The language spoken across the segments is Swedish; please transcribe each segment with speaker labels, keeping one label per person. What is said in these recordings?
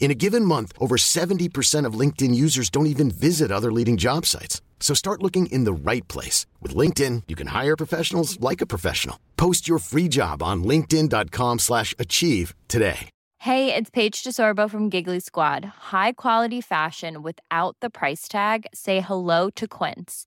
Speaker 1: In a given month, over 70% of LinkedIn users don't even visit other leading job sites. So start looking in the right place. With LinkedIn, you can hire professionals like a professional. Post your free job on linkedin.com slash achieve today.
Speaker 2: Hey, it's Paige DeSorbo from Giggly Squad. High quality fashion without the price tag. Say hello to Quince.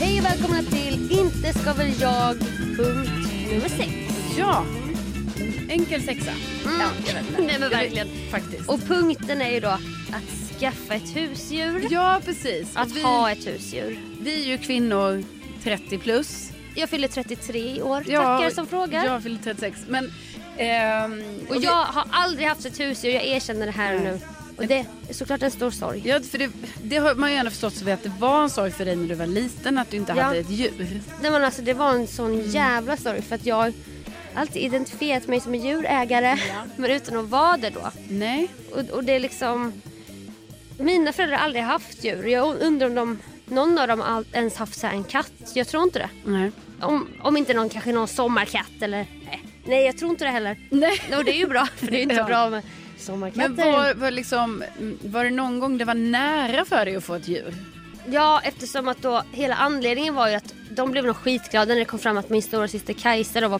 Speaker 3: Hej och välkomna till Inte ska väl jag punkt nummer sex.
Speaker 4: Ja, enkel sexa. Ja, jag vet inte.
Speaker 3: Nej men verkligen.
Speaker 4: Faktiskt.
Speaker 3: Och punkten är ju då att skaffa ett husdjur.
Speaker 4: ja, precis.
Speaker 3: Att
Speaker 4: vi,
Speaker 3: ha ett husdjur.
Speaker 4: vi är ju kvinnor 30 plus.
Speaker 3: Jag fyller 33 i år.
Speaker 4: Ja,
Speaker 3: Tackar som frågar.
Speaker 4: Jag fyller 36. Men, ehm,
Speaker 3: och
Speaker 4: vi-
Speaker 3: jag har aldrig haft ett husdjur. Jag erkänner det här nu. Och det är såklart en stor sorg.
Speaker 4: Ja, för det, det har man ju ändå förstått så att det var en sorg för dig när du var liten att du inte
Speaker 3: Ja.
Speaker 4: hade ett djur.
Speaker 3: Nej men alltså det var en sån
Speaker 4: Mm.
Speaker 3: jävla sorg för att jag har alltid identifierat mig som en djurägare. Men utan att vara det då.
Speaker 4: Nej.
Speaker 3: Och, och det är liksom... Mina föräldrar har aldrig haft djur. Jag undrar om de, någon av dem all, ens haft så här en katt. Jag tror inte det.
Speaker 4: Nej.
Speaker 3: Om, om inte någon kanske någon sommarkatt eller... Nej, nej jag tror inte det heller.
Speaker 4: Nej.
Speaker 3: Och det är ju bra för det är ju inte
Speaker 4: Ja.
Speaker 3: bra med
Speaker 4: Men
Speaker 3: sommarkatter.
Speaker 4: var, var, liksom, var det någon gång det var nära för dig att få ett djur?
Speaker 3: Ja, eftersom att då hela anledningen var ju att de blev nog skitglada när det kom fram att min stora syster Kajsa då var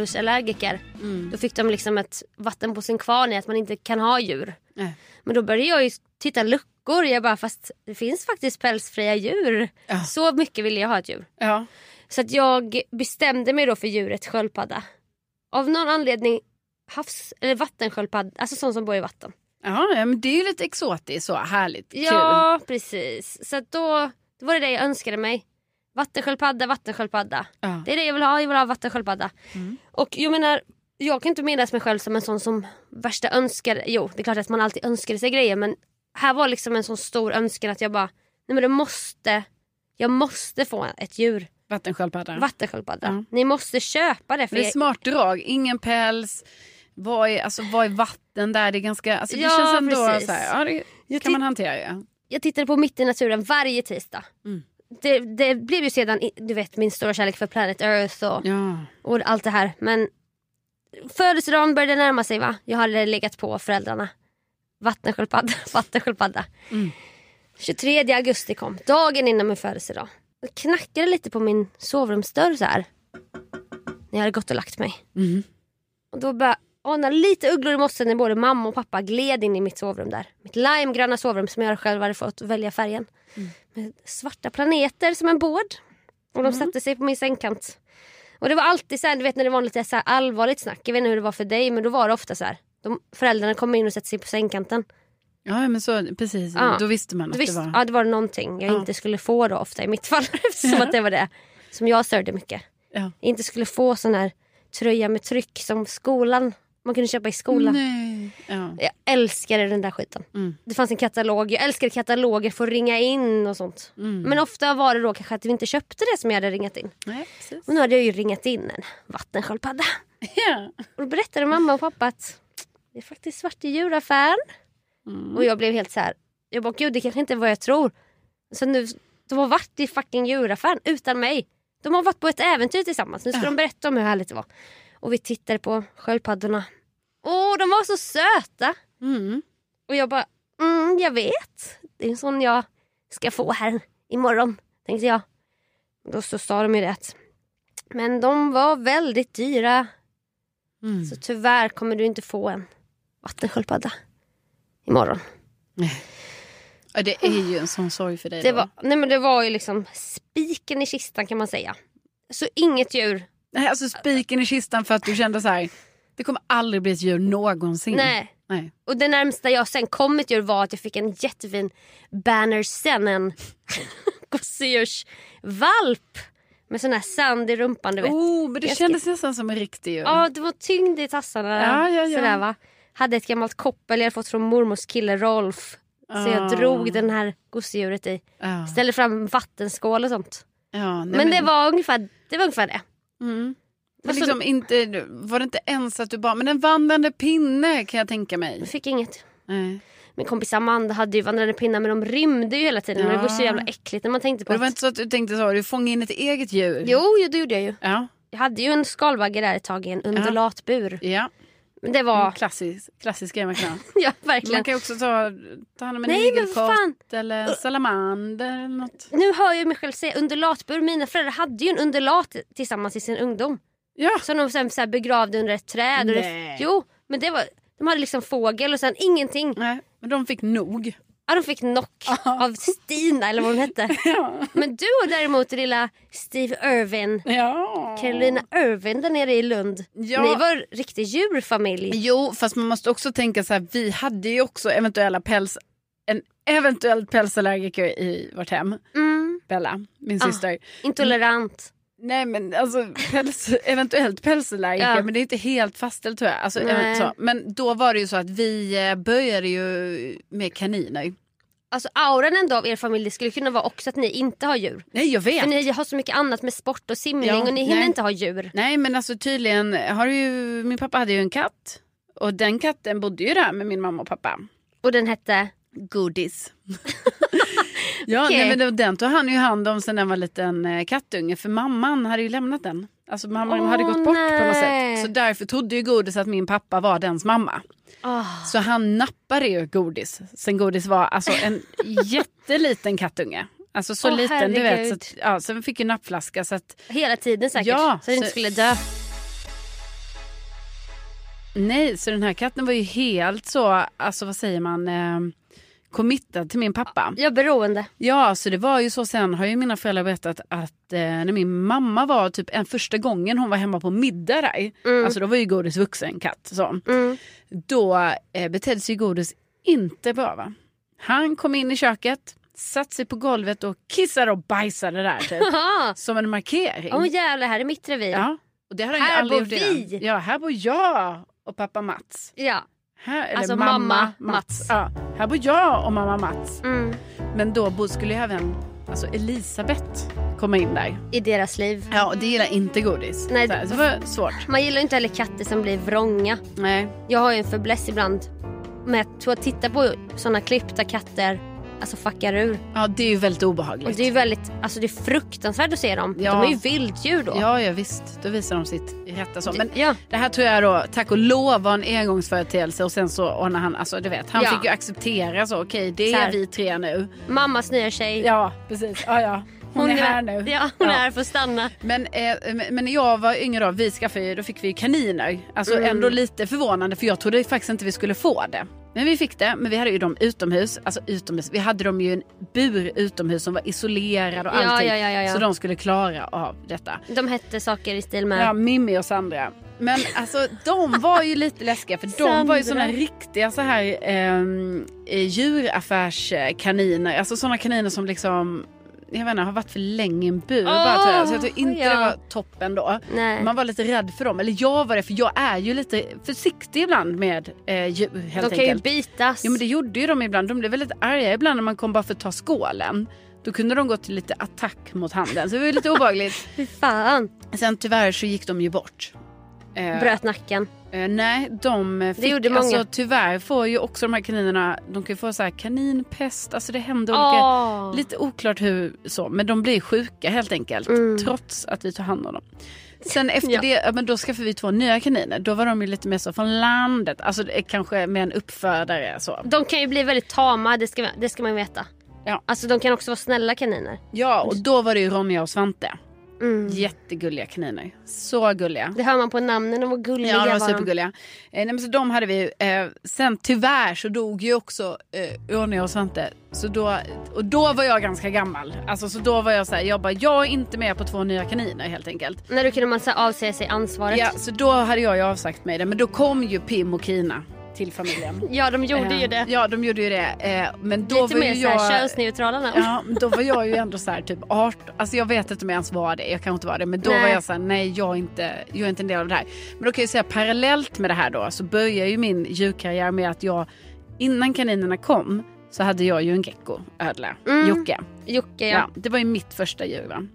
Speaker 3: pälsdjursallergiker.
Speaker 4: Mm.
Speaker 3: Då fick de liksom ett vatten på sin kvarn i att man inte kan ha djur.
Speaker 4: Nej.
Speaker 3: Men då började jag ju titta luckor. Jag bara, fast det finns faktiskt pälsfria djur.
Speaker 4: Ja.
Speaker 3: Så mycket ville jag ha ett djur.
Speaker 4: Ja.
Speaker 3: Så att jag bestämde mig då för djuret sköldpadda. Av någon anledning havs eller vattensköldpadda, alltså sån som bor i vatten.
Speaker 4: Ja, ja, men det är ju lite exotiskt så. Härligt. Kul.
Speaker 3: Ja, precis. Så att då det var det det jag önskade mig. Vattensköldpadda, vattensköldpadda.
Speaker 4: Ja. Mm.
Speaker 3: Det är det jag vill ha, jag vill ha vattensköldpadda. Och jag menar, jag kan inte minnas mig själv som en sån som värsta önskar. Jo, det är klart att man alltid önskar sig grejer men här var liksom en sån stor önskan att jag bara, nej men det måste, jag måste få ett djur.
Speaker 4: Vattensköldpadda.
Speaker 3: Vattensköldpadda.
Speaker 4: Ja.
Speaker 3: Ni måste köpa det för
Speaker 4: Men det är
Speaker 3: jag-
Speaker 4: smart drag, ingen päls. Vad är, alltså, vad är vatten där? Det, är ganska, alltså, det
Speaker 3: Ja,
Speaker 4: känns ändå
Speaker 3: precis.
Speaker 4: så här, ja, det
Speaker 3: Jag
Speaker 4: kan
Speaker 3: ty-
Speaker 4: man hantera ju.
Speaker 3: jag tittade på Mitt i naturen varje tisdag.
Speaker 4: Mm.
Speaker 3: Det, det blev ju sedan i- du vet, min stora kärlek för Planet Earth och,
Speaker 4: Ja.
Speaker 3: och allt det här. Men födelsedagen började närma sig va? Jag hade legat på föräldrarna. Vattensköldpadda, vattensköldpadda. 23 augusti kom, dagen innan min födelsedag. Det knackade lite på min sovrumsdörr så här. När jag hade gått och lagt mig. Och då började jag ana lite ugglor i mossen när både mamma och pappa gled in i mitt sovrum där. Mitt limegröna sovrum som jag själv hade fått välja färgen. Med svarta planeter som en bård. Och de satte sig på min sängkant. Och det var alltid så här, du vet när det var lite så här allvarligt snack. Jag vet inte hur det var för dig men då var det ofta så här. De, föräldrarna kommer in och sätter sig på sängkanten.
Speaker 4: Ja, men så, precis.
Speaker 3: Ja.
Speaker 4: Då visste man att
Speaker 3: Då visst,
Speaker 4: det var...
Speaker 3: Ja, det var någonting jag
Speaker 4: Ja.
Speaker 3: inte skulle få då ofta i mitt fall. Eftersom att det var det som jag störde mycket.
Speaker 4: Ja.
Speaker 3: Inte skulle få sån här tröja med tryck som skolan man kunde köpa i skolan.
Speaker 4: Nej. Ja.
Speaker 3: Jag älskade den där skiten.
Speaker 4: Mm.
Speaker 3: Det fanns en katalog. Jag älskade kataloger för att ringa in och sånt.
Speaker 4: Mm.
Speaker 3: Men ofta var det då kanske att vi inte köpte det som jag hade ringat in.
Speaker 4: Nej, precis.
Speaker 3: Och nu hade jag ju ringat in en vattensköldpadda.
Speaker 4: Ja.
Speaker 3: Och då berättade mamma och pappa att det är faktiskt svarte djuraffären. Och jag blev helt så här. Jag bara gud det kanske inte är vad jag tror. Så nu, de har varit i fucking djuraffären utan mig. De har varit på ett äventyr tillsammans. Nu ska
Speaker 4: Ja.
Speaker 3: de berätta om hur härligt det var. Och vi tittade på sköldpaddorna. Åh de var så söta.
Speaker 4: Mm.
Speaker 3: Och jag bara mm jag vet. Det är en sån jag ska få här imorgon. Tänkte jag. Då så sa de ju det. att, Men de var väldigt dyra.
Speaker 4: Mm.
Speaker 3: Så tyvärr kommer du inte få en vattensköldpadda imorgon.
Speaker 4: Ja, det är ju en sån sorg för dig
Speaker 3: Det
Speaker 4: då.
Speaker 3: var, nej men det var ju liksom spiken i kistan kan man säga. Så inget djur.
Speaker 4: Nej, alltså spiken i kistan för att du kände så här, det kommer aldrig bli ett djur någonsin.
Speaker 3: Nej.
Speaker 4: Nej.
Speaker 3: Och det närmsta jag sen kom ett djur var att jag fick en jättefin banner sen. En gosedjursvalp. Med sån här sand i rumpan du vet.
Speaker 4: Oh, men det
Speaker 3: Jag
Speaker 4: kändes nästan som en riktig djur.
Speaker 3: Ja, det var tyngd i tassarna.
Speaker 4: Ja, ja, ja.
Speaker 3: Sådär, va? Hade ett gammalt koppel jag hade fått från mormors kille Rolf. Så jag
Speaker 4: Ah.
Speaker 3: drog den här gosedjuret i.
Speaker 4: Ja.
Speaker 3: Ställde fram en vattenskål och sånt.
Speaker 4: Ja, nej,
Speaker 3: men, det, var ungefär, det var ungefär det.
Speaker 4: Mm. Men
Speaker 3: Alltså-
Speaker 4: liksom inte, var det inte ens att du bara, men en vandrande pinne kan jag tänka
Speaker 3: Jag
Speaker 4: mig.
Speaker 3: fick inget.
Speaker 4: Nej.
Speaker 3: Min kompis Amanda hade ju vandrande pinnar men de rymde ju hela tiden. Och det var så
Speaker 4: Ja.
Speaker 3: jävla äckligt när man tänkte
Speaker 4: Och
Speaker 3: på
Speaker 4: det var
Speaker 3: att...
Speaker 4: inte så att du tänkte så, du fångade in ett eget djur?
Speaker 3: Jo, jo, det gjorde jag ju.
Speaker 4: Ja,
Speaker 3: Jag hade ju en skalbagge där ett tag i en undulatbur.
Speaker 4: ja. Mm,
Speaker 3: Men det var...
Speaker 4: Klassisk, klassisk grej man kan ha.
Speaker 3: Ja,
Speaker 4: Men Man
Speaker 3: verkligen.
Speaker 4: kan ju också ta, ta hand om en
Speaker 3: Nej, men vad
Speaker 4: igelkott
Speaker 3: fan.
Speaker 4: eller en salamander eller något.
Speaker 3: Nu hör jag mig själv säga undulatbur. Mina föräldrar hade ju en undulat tillsammans i sin ungdom.
Speaker 4: Ja,
Speaker 3: Som de sen så här begravde under ett träd. Och det,
Speaker 4: Nej.
Speaker 3: jo, men det var... De hade liksom fågel och sen ingenting.
Speaker 4: nej, men de fick nog.
Speaker 3: Ja, de fick knock av Stina eller vad hon hette.
Speaker 4: Ja.
Speaker 3: Men du och däremot lilla Steve Irwin,
Speaker 4: ja.
Speaker 3: Carolina Irwin där nere i Lund.
Speaker 4: Ja.
Speaker 3: Ni var en riktig djurfamilj.
Speaker 4: Jo, fast man måste också tänka så här, vi hade ju också eventuella päls, en eventuell pälsallergiker i vårt hem,
Speaker 3: Mm,
Speaker 4: Bella, min
Speaker 3: Ah.
Speaker 4: syster.
Speaker 3: intolerant.
Speaker 4: Nej men alltså päls, eventuellt pälsallergiker
Speaker 3: Ja.
Speaker 4: men det är inte helt fastställt tror jag. Alltså,
Speaker 3: Nej.
Speaker 4: eventuellt så. Men då var det ju så att vi eh, började ju med kaniner.
Speaker 3: Alltså auran ändå av er familj det skulle kunna vara också att ni inte har djur.
Speaker 4: Nej jag vet.
Speaker 3: För ni har så mycket annat med sport och simning
Speaker 4: Ja,
Speaker 3: och ni hinner
Speaker 4: nej.
Speaker 3: inte ha djur.
Speaker 4: Nej men alltså tydligen har ju, min pappa hade ju en katt. Och den katten bodde ju där med min mamma och pappa.
Speaker 3: Och den hette...
Speaker 4: Godis. ja,
Speaker 3: Okej.
Speaker 4: nej, men det- den tog han ju hand om sen den var liten eh, kattunge för mamman hade ju lämnat den. Alltså mamman
Speaker 3: Åh,
Speaker 4: hade gått bort på något
Speaker 3: nej.
Speaker 4: sätt. Så därför trodde ju Godis att min pappa var dens mamma.
Speaker 3: Ah,
Speaker 4: Så han nappade ju Godis sen Godis var alltså en jätteliten kattunge. Alltså så
Speaker 3: Åh,
Speaker 4: liten du vet. Så
Speaker 3: herregud.
Speaker 4: att, ja, sen fick ju nappflaska så att
Speaker 3: hela tiden säkert.
Speaker 4: Ja,
Speaker 3: så att den inte
Speaker 4: så-
Speaker 3: skulle dö.
Speaker 4: nej, så den här katten var ju helt så, alltså vad säger man, eh, committad till min pappa.
Speaker 3: Jag är beroende.
Speaker 4: Ja, så det var ju så. Sen har ju mina föräldrar berättat att eh, när min mamma var typ en första gången hon var hemma på middag där, alltså då var ju Godis vuxen katt, så.
Speaker 3: Mm.
Speaker 4: då eh, betedde sig Godis inte bra. Va? Han kom in i köket, satte sig på golvet och kissade och bajsade där typ,
Speaker 3: Jaha.
Speaker 4: som en markering.
Speaker 3: Åh jävlar, här är mitt revir.
Speaker 4: Mm. ja, och det har han ju
Speaker 3: Här
Speaker 4: aldrig
Speaker 3: bor
Speaker 4: gjort innan.
Speaker 3: vi.
Speaker 4: Ja, här bor jag och pappa Mats.
Speaker 3: Ja.
Speaker 4: Här, eller
Speaker 3: Alltså,
Speaker 4: mamma,
Speaker 3: mamma Mats.
Speaker 4: Ja, här bor jag och mamma Mats.
Speaker 3: Mm.
Speaker 4: Men då bo- skulle ju även alltså Elisabeth komma in där.
Speaker 3: I deras liv.
Speaker 4: Ja, och det gillar inte godis.
Speaker 3: Nej,
Speaker 4: så här, så det var svårt.
Speaker 3: Man gillar ju inte heller katter som blir vrånga.
Speaker 4: Nej.
Speaker 3: Jag har ju en fäbless ibland med att- att titta på såna klipp där katter alltså fuckar ur.
Speaker 4: Ja, det är ju väldigt obehagligt.
Speaker 3: Och det är ju väldigt, alltså det är fruktansvärt att se dem.
Speaker 4: Ja.
Speaker 3: De är ju vilddjur då.
Speaker 4: Ja, ja, visst. Då visar de sitt rätta så. Men
Speaker 3: ja.
Speaker 4: det här tror jag då, tack och lov, var en engångsföreteelse. Och sen så ordnar han, alltså du vet, han
Speaker 3: Ja.
Speaker 4: fick ju acceptera så. Okej, det
Speaker 3: Så här.
Speaker 4: är vi tre nu.
Speaker 3: Mammas nya tjej.
Speaker 4: Ja, precis. Ja, ja. Hon, är här nu.
Speaker 3: Ja, hon är
Speaker 4: Ja.
Speaker 3: här för att stanna.
Speaker 4: Men, eh, men- men när jag var yngre då, vi skaffade ju, då fick vi ju kaniner. Alltså
Speaker 3: Mm.
Speaker 4: ändå lite förvånande för jag trodde faktiskt inte vi skulle få det. Men vi fick det, men vi hade ju dem utomhus. Alltså utomhus, vi hade dem ju i en bur utomhus som var isolerad och
Speaker 3: Ja,
Speaker 4: allting.
Speaker 3: ja, ja, ja, ja.
Speaker 4: Så de skulle klara av detta.
Speaker 3: De hette saker i stil med...
Speaker 4: Ja, Mimmi och Sandra. Men alltså de var ju lite läskiga för
Speaker 3: Sandra.
Speaker 4: de var ju såna riktiga så här ehm, eh, djuraffärskaniner. Alltså såna kaniner som liksom, jag vet inte, har varit för länge i en bur bara tror jag. Så jag tror inte
Speaker 3: Ah, ja.
Speaker 4: det var toppen då.
Speaker 3: Nej.
Speaker 4: Man var lite rädd för dem. Eller jag var det för jag är ju lite försiktig ibland med eh, djur helt
Speaker 3: de
Speaker 4: enkelt.
Speaker 3: kan ju bitas.
Speaker 4: Ja men det gjorde ju de ibland. De blev väldigt arga ibland när man kom bara för att ta skålen. Då kunde de gå till lite attack mot handen. Så det var ju lite obehagligt.
Speaker 3: Fy fan.
Speaker 4: Sen tyvärr så gick de ju bort. Eh,
Speaker 3: Bröt nacken.
Speaker 4: eh, nej, de eh, fick...
Speaker 3: gjorde många.
Speaker 4: Alltså, tyvärr får ju också de här kaninerna... De kan ju få så här kaninpest. Alltså det händer olika...
Speaker 3: Åh.
Speaker 4: Lite oklart hur så. Men de blir sjuka helt enkelt. Trots att vi tar hand om dem. Sen efter
Speaker 3: Mm. Ja.
Speaker 4: det, ja, men då skaffade vi två nya kaniner. Då var de ju lite mer så från landet. Alltså det är kanske med en uppfödare så.
Speaker 3: De kan ju bli väldigt tama, det ska, det ska man ju veta.
Speaker 4: Ja.
Speaker 3: Alltså de kan också vara snälla kaniner.
Speaker 4: Ja, och då var det ju Ronja och Svante.
Speaker 3: Mm.
Speaker 4: Jättegulliga kaniner. Så gulliga.
Speaker 3: Det hör man på namnen, de var gulliga.
Speaker 4: Ja, de
Speaker 3: var
Speaker 4: var
Speaker 3: de.
Speaker 4: supergulliga. Eh, nej, men så de hade vi. Eh, sen tyvärr så dog ju också eh, Ronja och Svante. Så då, och då var jag ganska gammal. Alltså, så då var jag så här, jag bara, jag är inte med på två nya kaniner helt enkelt.
Speaker 3: När då kunde man så här avsäga sig ansvaret.
Speaker 4: Ja,
Speaker 3: Ja,
Speaker 4: så då hade jag ju avsagt mig det. Men då kom ju Pim och Kina till familjen.
Speaker 3: de gjorde
Speaker 4: Eh,
Speaker 3: ju det.
Speaker 4: Ja, de gjorde ju det. Eh, men då
Speaker 3: Lite
Speaker 4: var
Speaker 3: mer
Speaker 4: ju
Speaker 3: så här
Speaker 4: jag...
Speaker 3: könsneutrala namn.
Speaker 4: Ja, men då var jag ju ändå så här typ 18. Alltså jag vet inte om jag ens var det. Jag kanske inte var det. Men då
Speaker 3: Nej.
Speaker 4: var jag så här, nej jag är, inte, jag är inte en del av det här. Men då kan jag säga parallellt med det här då så börjar ju min djurkarriär med att jag innan kaninerna kom så hade jag ju en gecko, ödla, Jocke.
Speaker 3: Jocke
Speaker 4: Ja,
Speaker 3: Mm. ja.
Speaker 4: det var ju mitt första djur. Va?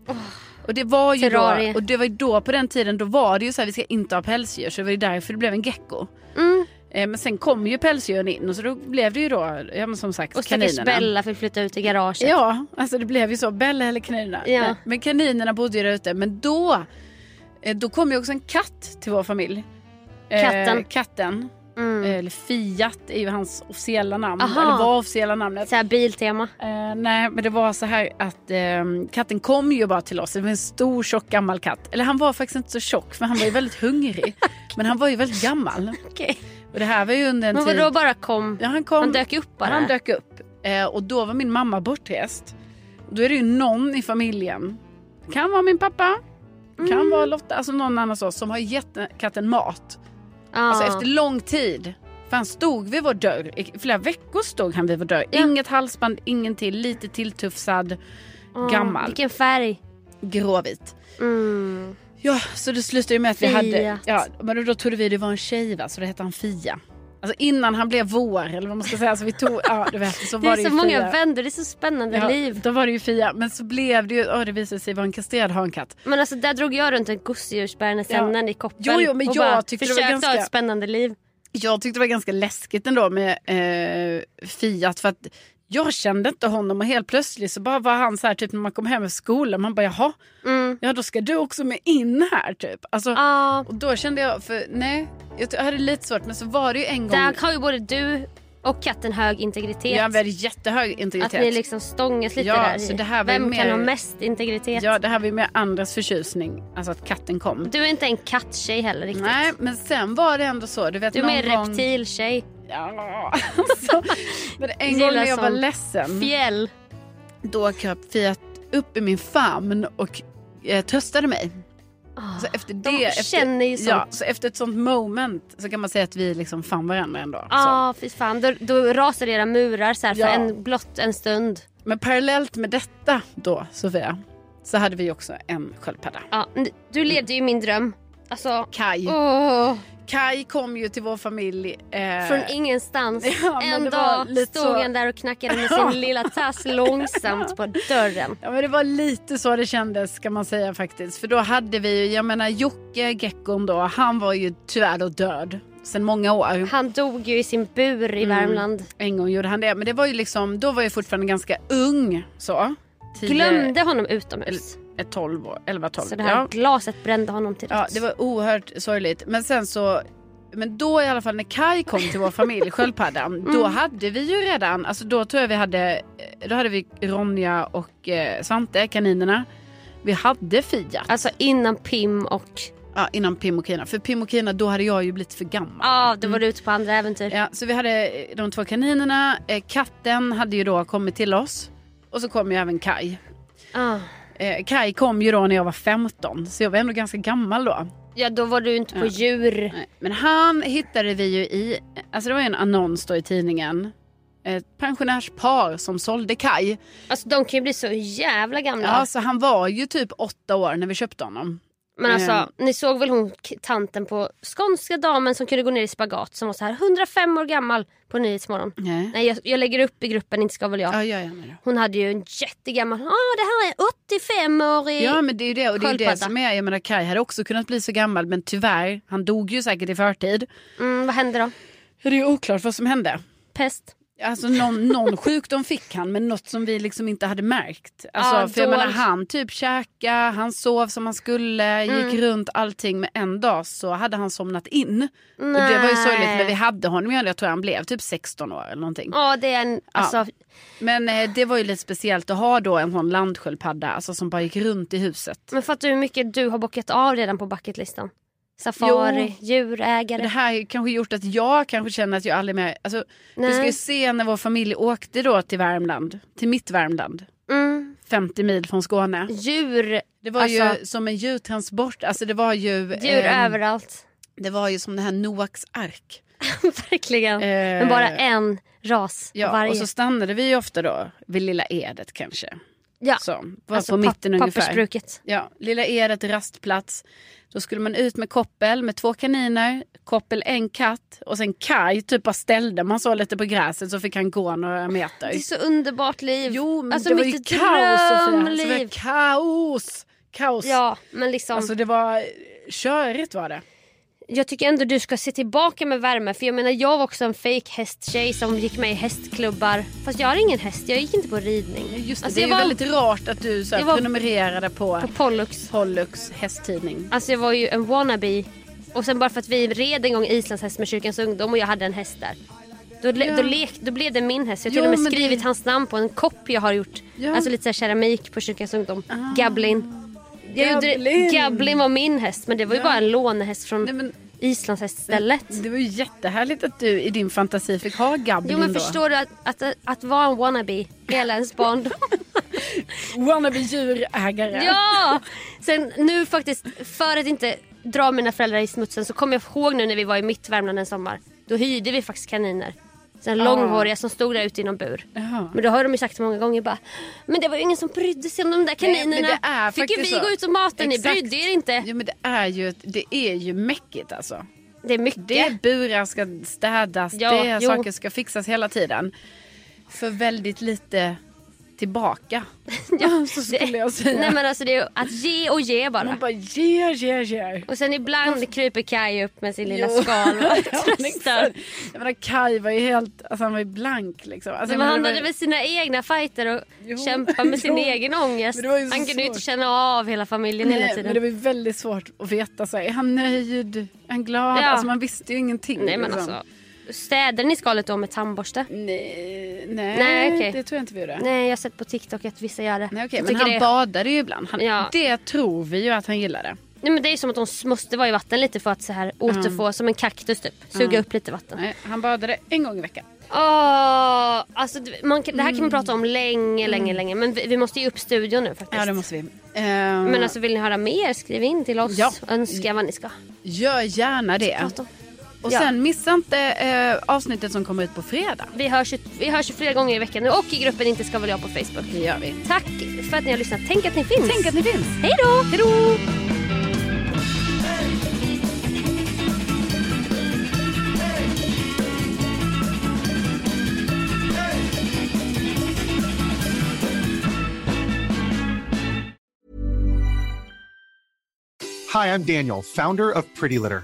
Speaker 4: Och det var ju då,
Speaker 3: Ferrari.
Speaker 4: och det var ju då på den tiden då var det ju så här, vi ska inte ha pälsdjur så det var ju därför det blev en gecko.
Speaker 3: Mm.
Speaker 4: Eh, Men sen kom ju pälsdjuren in och så då blev det ju då, ja men som sagt
Speaker 3: Och stackars
Speaker 4: kaninerna.
Speaker 3: Bella fick flytta ut i garaget.
Speaker 4: Ja, alltså det blev ju så. Bella eller kaninerna.
Speaker 3: typ. Ja.
Speaker 4: Nej, Men kaninerna bodde ju där ute. Men då, eh, då kom ju också en katt till vår familj. Eh,
Speaker 3: Katten.
Speaker 4: katten.
Speaker 3: Mm.
Speaker 4: Eh, Eller Fiat är ju hans officiella namn.
Speaker 3: Aha.
Speaker 4: Eller var officiella namnet.
Speaker 3: Så här biltema.
Speaker 4: Eh, nej, men det var så här att eh, katten kom ju bara till oss. Det var en stor, tjock, gammal katt. Eller han var faktiskt inte så tjock, för han var ju väldigt hungrig. men han var ju väldigt gammal.
Speaker 3: Okej.
Speaker 4: Och det här var ju under en
Speaker 3: Men
Speaker 4: tid...
Speaker 3: vadå bara kom?
Speaker 4: Ja, han, kom,
Speaker 3: Han dök upp bara?
Speaker 4: Han dök upp. Eh, och då var min mamma bortrest. Då är det ju någon i familjen. Kan vara min pappa. Kan
Speaker 3: Mm.
Speaker 4: vara Lotta. Alltså någon annan så, som har gett katten mat.
Speaker 3: Ja.
Speaker 4: Alltså efter lång tid. För han stod vid vår dörr. I flera veckor stod han vid vår dörr.
Speaker 3: Ja.
Speaker 4: Inget halsband, ingenting. Lite tilltufsad.
Speaker 3: Ja,
Speaker 4: gammal.
Speaker 3: Vilken färg.
Speaker 4: Gråvit.
Speaker 3: Mm.
Speaker 4: Ja, så det slutade ju med att vi hade...
Speaker 3: Fiat.
Speaker 4: Ja, men då trodde vi det var en tjej va, så då hette han Fia. Alltså innan han blev vår, eller vad man ska säga. Så vi tog, ja, du vet, så
Speaker 3: Det
Speaker 4: var
Speaker 3: är
Speaker 4: det,
Speaker 3: så
Speaker 4: ju
Speaker 3: många
Speaker 4: Fia.
Speaker 3: vänder, det är så spännande
Speaker 4: Ja,
Speaker 3: liv.
Speaker 4: Då var det ju Fia. Men så blev det ju, åh det visade sig vara en kastrerad hankatt.
Speaker 3: Men alltså där drog jag runt en gosedjursbärande
Speaker 4: Ja.
Speaker 3: sännen i koppel.
Speaker 4: Jo, jo, men
Speaker 3: och
Speaker 4: jag
Speaker 3: bara
Speaker 4: tyckte det var
Speaker 3: försökte ha
Speaker 4: ganska-
Speaker 3: ett spännande liv.
Speaker 4: Jag tyckte det var ganska läskigt ändå med eh, Fiat för att jag kände inte honom och helt plötsligt så bara var han så här typ när man kom hem från skolan. Man bara jaha,
Speaker 3: Mm.
Speaker 4: ja då ska du också med in här typ. Alltså,
Speaker 3: Ja,
Speaker 4: Och då kände jag, för nej, jag t- jag hade lite svårt men så var det ju en gång.
Speaker 3: där har ju både du och katten hög integritet.
Speaker 4: Jag hade jättehög integritet.
Speaker 3: Att ni liksom stångas lite
Speaker 4: Ja,
Speaker 3: där. i.
Speaker 4: så det här var ju
Speaker 3: Vem
Speaker 4: mer-
Speaker 3: kan ha mest integritet?
Speaker 4: Ja, det här var ju med andras förtjusning, alltså att katten kom.
Speaker 3: Du är inte en kattjej heller riktigt.
Speaker 4: Nej, men sen var det ändå så. Du, vet,
Speaker 3: Du är
Speaker 4: någon
Speaker 3: mer
Speaker 4: gång...
Speaker 3: reptiltjej.
Speaker 4: Ja, alltså. Men en
Speaker 3: Gillar
Speaker 4: gång när jag var
Speaker 3: sånt.
Speaker 4: ledsen,
Speaker 3: Fjäll.
Speaker 4: då kröp Fiat upp i min famn och eh, tröstade mig. Så efter det,
Speaker 3: Ah, de
Speaker 4: efter,
Speaker 3: känner ju sånt.
Speaker 4: Ja, så efter ett sånt moment så kan man säga att vi liksom fann varandra ändå. Så.
Speaker 3: Ja, fy fan. Då, då rasar era murar så här
Speaker 4: Ja.
Speaker 3: för en, blott en stund.
Speaker 4: Men parallellt med detta då, Sofia, så hade vi också en sköldpadda.
Speaker 3: Ja, n- du levde ju min dröm. Alltså,
Speaker 4: Kai.
Speaker 3: åh,
Speaker 4: Kai kom ju till vår familj. eh,
Speaker 3: från ingenstans.
Speaker 4: Ja, men
Speaker 3: en
Speaker 4: det var
Speaker 3: dag
Speaker 4: lite
Speaker 3: stod
Speaker 4: så-
Speaker 3: han där och knackade med sin lilla tass långsamt på dörren.
Speaker 4: Ja men det var lite så det kändes kan man säga faktiskt. För då hade vi ju, jag menar Jocke Geckon då, han var ju tyvärr då död sedan många år.
Speaker 3: Han dog ju i sin bur
Speaker 4: Mm.
Speaker 3: i Värmland.
Speaker 4: En gång gjorde han det, men det var ju liksom, då var jag fortfarande ganska ung så. Tio-
Speaker 3: Glömde honom utomhus.
Speaker 4: eh, 12 år, 11, 12.
Speaker 3: Så det här
Speaker 4: ja.
Speaker 3: glaset brände honom till
Speaker 4: ja,
Speaker 3: döds.
Speaker 4: det var oerhört sorgligt. Men sen så, men då i alla fall när Kai kom till vår familj, sköldpaddan, då
Speaker 3: Mm.
Speaker 4: hade vi ju redan, alltså då tror jag vi hade, då hade vi Ronja och eh, Svante, kaninerna. Vi hade Fiat.
Speaker 3: Alltså innan Pim och...
Speaker 4: Ja, innan Pim och Kina. För Pim och Kina, då hade jag ju blivit för gammal.
Speaker 3: Ja, då var du ute på andra äventyr.
Speaker 4: Mm. Ja, så vi hade eh, de två kaninerna, eh, katten hade ju då kommit till oss. Och så kom ju även Kai.
Speaker 3: Ah.
Speaker 4: Eh, Kai kom ju då när jag var 15, så jag var ändå ganska gammal då.
Speaker 3: Ja, då var du inte på
Speaker 4: Ja.
Speaker 3: djur.
Speaker 4: Nej, Men han hittade vi ju i, alltså det var ju en annons då i tidningen. Ett pensionärspar som sålde Kaj.
Speaker 3: Alltså de kan ju bli så jävla
Speaker 4: Ja.
Speaker 3: gamla.
Speaker 4: så han var ju typ åtta år när vi köpte honom.
Speaker 3: Men alltså,
Speaker 4: Mm.
Speaker 3: ni såg väl hon k- tanten på Skånska damen som kunde gå ner i spagat som var så här 105 år gammal på Nyhetsmorgon.
Speaker 4: Nej.
Speaker 3: Nej jag, jag lägger upp i gruppen, inte ska väl jag.
Speaker 4: Eh, Ja, jag gärna det.
Speaker 3: Hon hade ju en jättegammal, ah det här är 85-årig.
Speaker 4: Ja men det är ju det och det är ju det
Speaker 3: Sköldpadda.
Speaker 4: som är, jag menar Kaj hade också kunnat bli så gammal men tyvärr, han dog ju säkert i förtid.
Speaker 3: Mm, vad hände då?
Speaker 4: Det är ju oklart vad som hände.
Speaker 3: Pest?
Speaker 4: Alltså någon, någon sjukdom fick han men något som vi liksom inte hade märkt. Alltså,
Speaker 3: Ja,
Speaker 4: för jag menar,
Speaker 3: dold.
Speaker 4: han typ käkade, han sov som han skulle, gick runt allting men en dag så hade han somnat in. Och det var ju sorgligt
Speaker 3: Nej.
Speaker 4: men vi hade honom ju, jag tror han blev typ 16 år eller någonting.
Speaker 3: Ja det är en, alltså,
Speaker 4: Men eh, det var ju lite speciellt att ha då en sån landsköldpadda alltså, som bara gick runt i huset.
Speaker 3: men fattar du hur mycket du har bockat av redan på bucketlistan? Safari,
Speaker 4: Det
Speaker 3: djurägare.
Speaker 4: här har ju kanske gjort att jag kanske känner att jag aldrig mer... Alltså, vi ska ju
Speaker 3: Nej.
Speaker 4: se när vår familj åkte då till Värmland, till mitt Värmland,
Speaker 3: Mm.
Speaker 4: 50 mil från Skåne.
Speaker 3: Djur,
Speaker 4: Det var ju
Speaker 3: Alltså-
Speaker 4: som en djurtransport, alltså det var ju...
Speaker 3: djur
Speaker 4: ehm,
Speaker 3: överallt.
Speaker 4: Det var ju som den här Noaks ark.
Speaker 3: Verkligen.
Speaker 4: Eh,
Speaker 3: Men bara en ras av
Speaker 4: Ja,
Speaker 3: varje.
Speaker 4: och så stannade vi ju ofta då vid Lilla Edet kanske.
Speaker 3: ja.
Speaker 4: Så, var
Speaker 3: Alltså
Speaker 4: på
Speaker 3: pa-
Speaker 4: mitten ungefär.
Speaker 3: pappersbruket.
Speaker 4: Ja, Lilla Edet rastplats. Då skulle man ut med koppel med två kaniner, koppel en katt och sen Kaj typ bara ställde man så lite på gräset så fick han gå några meter.
Speaker 3: Det är så underbart liv.
Speaker 4: Jo men
Speaker 3: alltså
Speaker 4: det var ju
Speaker 3: mitt
Speaker 4: kaos Sofia. Alltså, det var
Speaker 3: drömliv.
Speaker 4: kaos! Alltså, Kaos!
Speaker 3: Ja, men liksom,
Speaker 4: Alltså det var körigt var det.
Speaker 3: jag tycker ändå du ska se tillbaka med värme. För jag menar, jag var också en fake hästtjej som gick med i hästklubbar. Fast jag har ingen häst, jag gick inte på ridning.
Speaker 4: Ja, Just det,
Speaker 3: Alltså,
Speaker 4: det är
Speaker 3: jag
Speaker 4: ju
Speaker 3: var
Speaker 4: väldigt rart att du så här,
Speaker 3: jag var-
Speaker 4: prenumererade på
Speaker 3: på Pollux.
Speaker 4: Pollux hästtidning.
Speaker 3: Alltså jag var ju en wannabe. Och sen bara för att vi red en gång Islands häst med Kyrkans ungdom och jag hade en häst där. Då, le-
Speaker 4: Ja.
Speaker 3: då, lek, då blev det min häst. Jag har
Speaker 4: Jo,
Speaker 3: till och
Speaker 4: men
Speaker 3: med
Speaker 4: det-
Speaker 3: skrivit hans namn på en kopp jag har gjort.
Speaker 4: Ja. Ah.
Speaker 3: Alltså lite så här keramik på Kyrkans ungdom. Gablin. Jag gjorde-
Speaker 4: Gablin.
Speaker 3: Gablin var min häst men det var ju bara en lånehäst från
Speaker 4: Nej, men, Mm.
Speaker 3: Islands häststället.
Speaker 4: det var ju jättehärligt att du i din fantasi fick ha Gablin
Speaker 3: Jo men
Speaker 4: då.
Speaker 3: förstår du att, att, att, vara en wannabe hela ens barndom.
Speaker 4: Wannabe djurägare.
Speaker 3: ja! Sen nu faktiskt, för att inte dra mina föräldrar i smutsen så kommer jag ihåg nu när vi var i mitt Värmland en sommar. Då hyrde vi faktiskt kaniner. Sen långhåriga som stod där ute i någon bur.
Speaker 4: Jaha.
Speaker 3: Men då har de ju sagt många gånger bara Men det var ju ingen som brydde sig om de där
Speaker 4: Nej, men
Speaker 3: kaninerna.
Speaker 4: det är
Speaker 3: Fick ju vi
Speaker 4: faktiskt så.
Speaker 3: gå ut och mata, ni
Speaker 4: Exakt.
Speaker 3: brydde er inte.
Speaker 4: Jo men det är ju, ett- det är ju mäckigt alltså.
Speaker 3: Det är mycket.
Speaker 4: Det burar ska städas,
Speaker 3: Ja,
Speaker 4: det
Speaker 3: jo.
Speaker 4: saker ska fixas hela tiden. För väldigt lite tillbaka. ja, så skulle jag säga.
Speaker 3: Nej men alltså det är ju att ge och ge bara.
Speaker 4: Man bara ger, ger, ger.
Speaker 3: Och sen ibland kryper Kaj upp med sin lilla
Speaker 4: Jo.
Speaker 3: skal och
Speaker 4: Ja, men
Speaker 3: tröstar.
Speaker 4: exakt. Jag menar Kaj var ju helt, alltså han var ju blank liksom. Alltså,
Speaker 3: Men
Speaker 4: jag menar,
Speaker 3: han
Speaker 4: det var-
Speaker 3: hade väl sina egna fighter och
Speaker 4: Jo.
Speaker 3: kämpa med sin
Speaker 4: Jo.
Speaker 3: egen ångest.
Speaker 4: Men det var ju så
Speaker 3: Han kunde ju inte
Speaker 4: svårt.
Speaker 3: känna av hela familjen hela
Speaker 4: Nej,
Speaker 3: tiden.
Speaker 4: Men det var ju väldigt svårt att veta. Så här, är han nöjd? Är han glad?
Speaker 3: Ja.
Speaker 4: Alltså, man visste ju ingenting.
Speaker 3: Nej men
Speaker 4: liksom.
Speaker 3: alltså. Städade ni skalet då med tandborste?
Speaker 4: Mm. Nej, nej,
Speaker 3: Nej, okej.
Speaker 4: det tror jag inte vi gjorde. Nej.
Speaker 3: Nej jag har sett på TikTok att vissa gör det.
Speaker 4: okej,
Speaker 3: Jag
Speaker 4: men
Speaker 3: tycker
Speaker 4: han
Speaker 3: det är-
Speaker 4: badade ju ibland. Han,
Speaker 3: Ja.
Speaker 4: Det tror vi ju att han gillade.
Speaker 3: Nej men det är som att de måste vara i vatten lite för att så här återfå, som en kaktus typ. Suga upp lite vatten.
Speaker 4: Mm. Nej, han badade en gång i veckan.
Speaker 3: Åh, alltså, det- man, kan- det här kan man
Speaker 4: Mm.
Speaker 3: prata om länge, länge, länge. Men vi, vi måste ge upp studion nu faktiskt.
Speaker 4: Ja, det måste vi. Ehm,
Speaker 3: Men alltså vill ni höra mer, skriv in till oss.
Speaker 4: Ja.
Speaker 3: Önska vad ni ska
Speaker 4: gör gärna det.
Speaker 3: prata om.
Speaker 4: Och
Speaker 3: ja.
Speaker 4: sen missa inte eh, avsnittet som kommer ut på fredag.
Speaker 3: Vi hörs, ju- vi hörs ju flera gånger i veckan nu och i gruppen Inte ska väl jag på Facebook.
Speaker 4: Det gör vi.
Speaker 3: Tack för att ni har lyssnat. Tänk att ni finns.
Speaker 4: Tänk att ni finns.
Speaker 3: Hej då! Hej då!
Speaker 5: Hi, I'm Daniel, founder of Pretty Litter.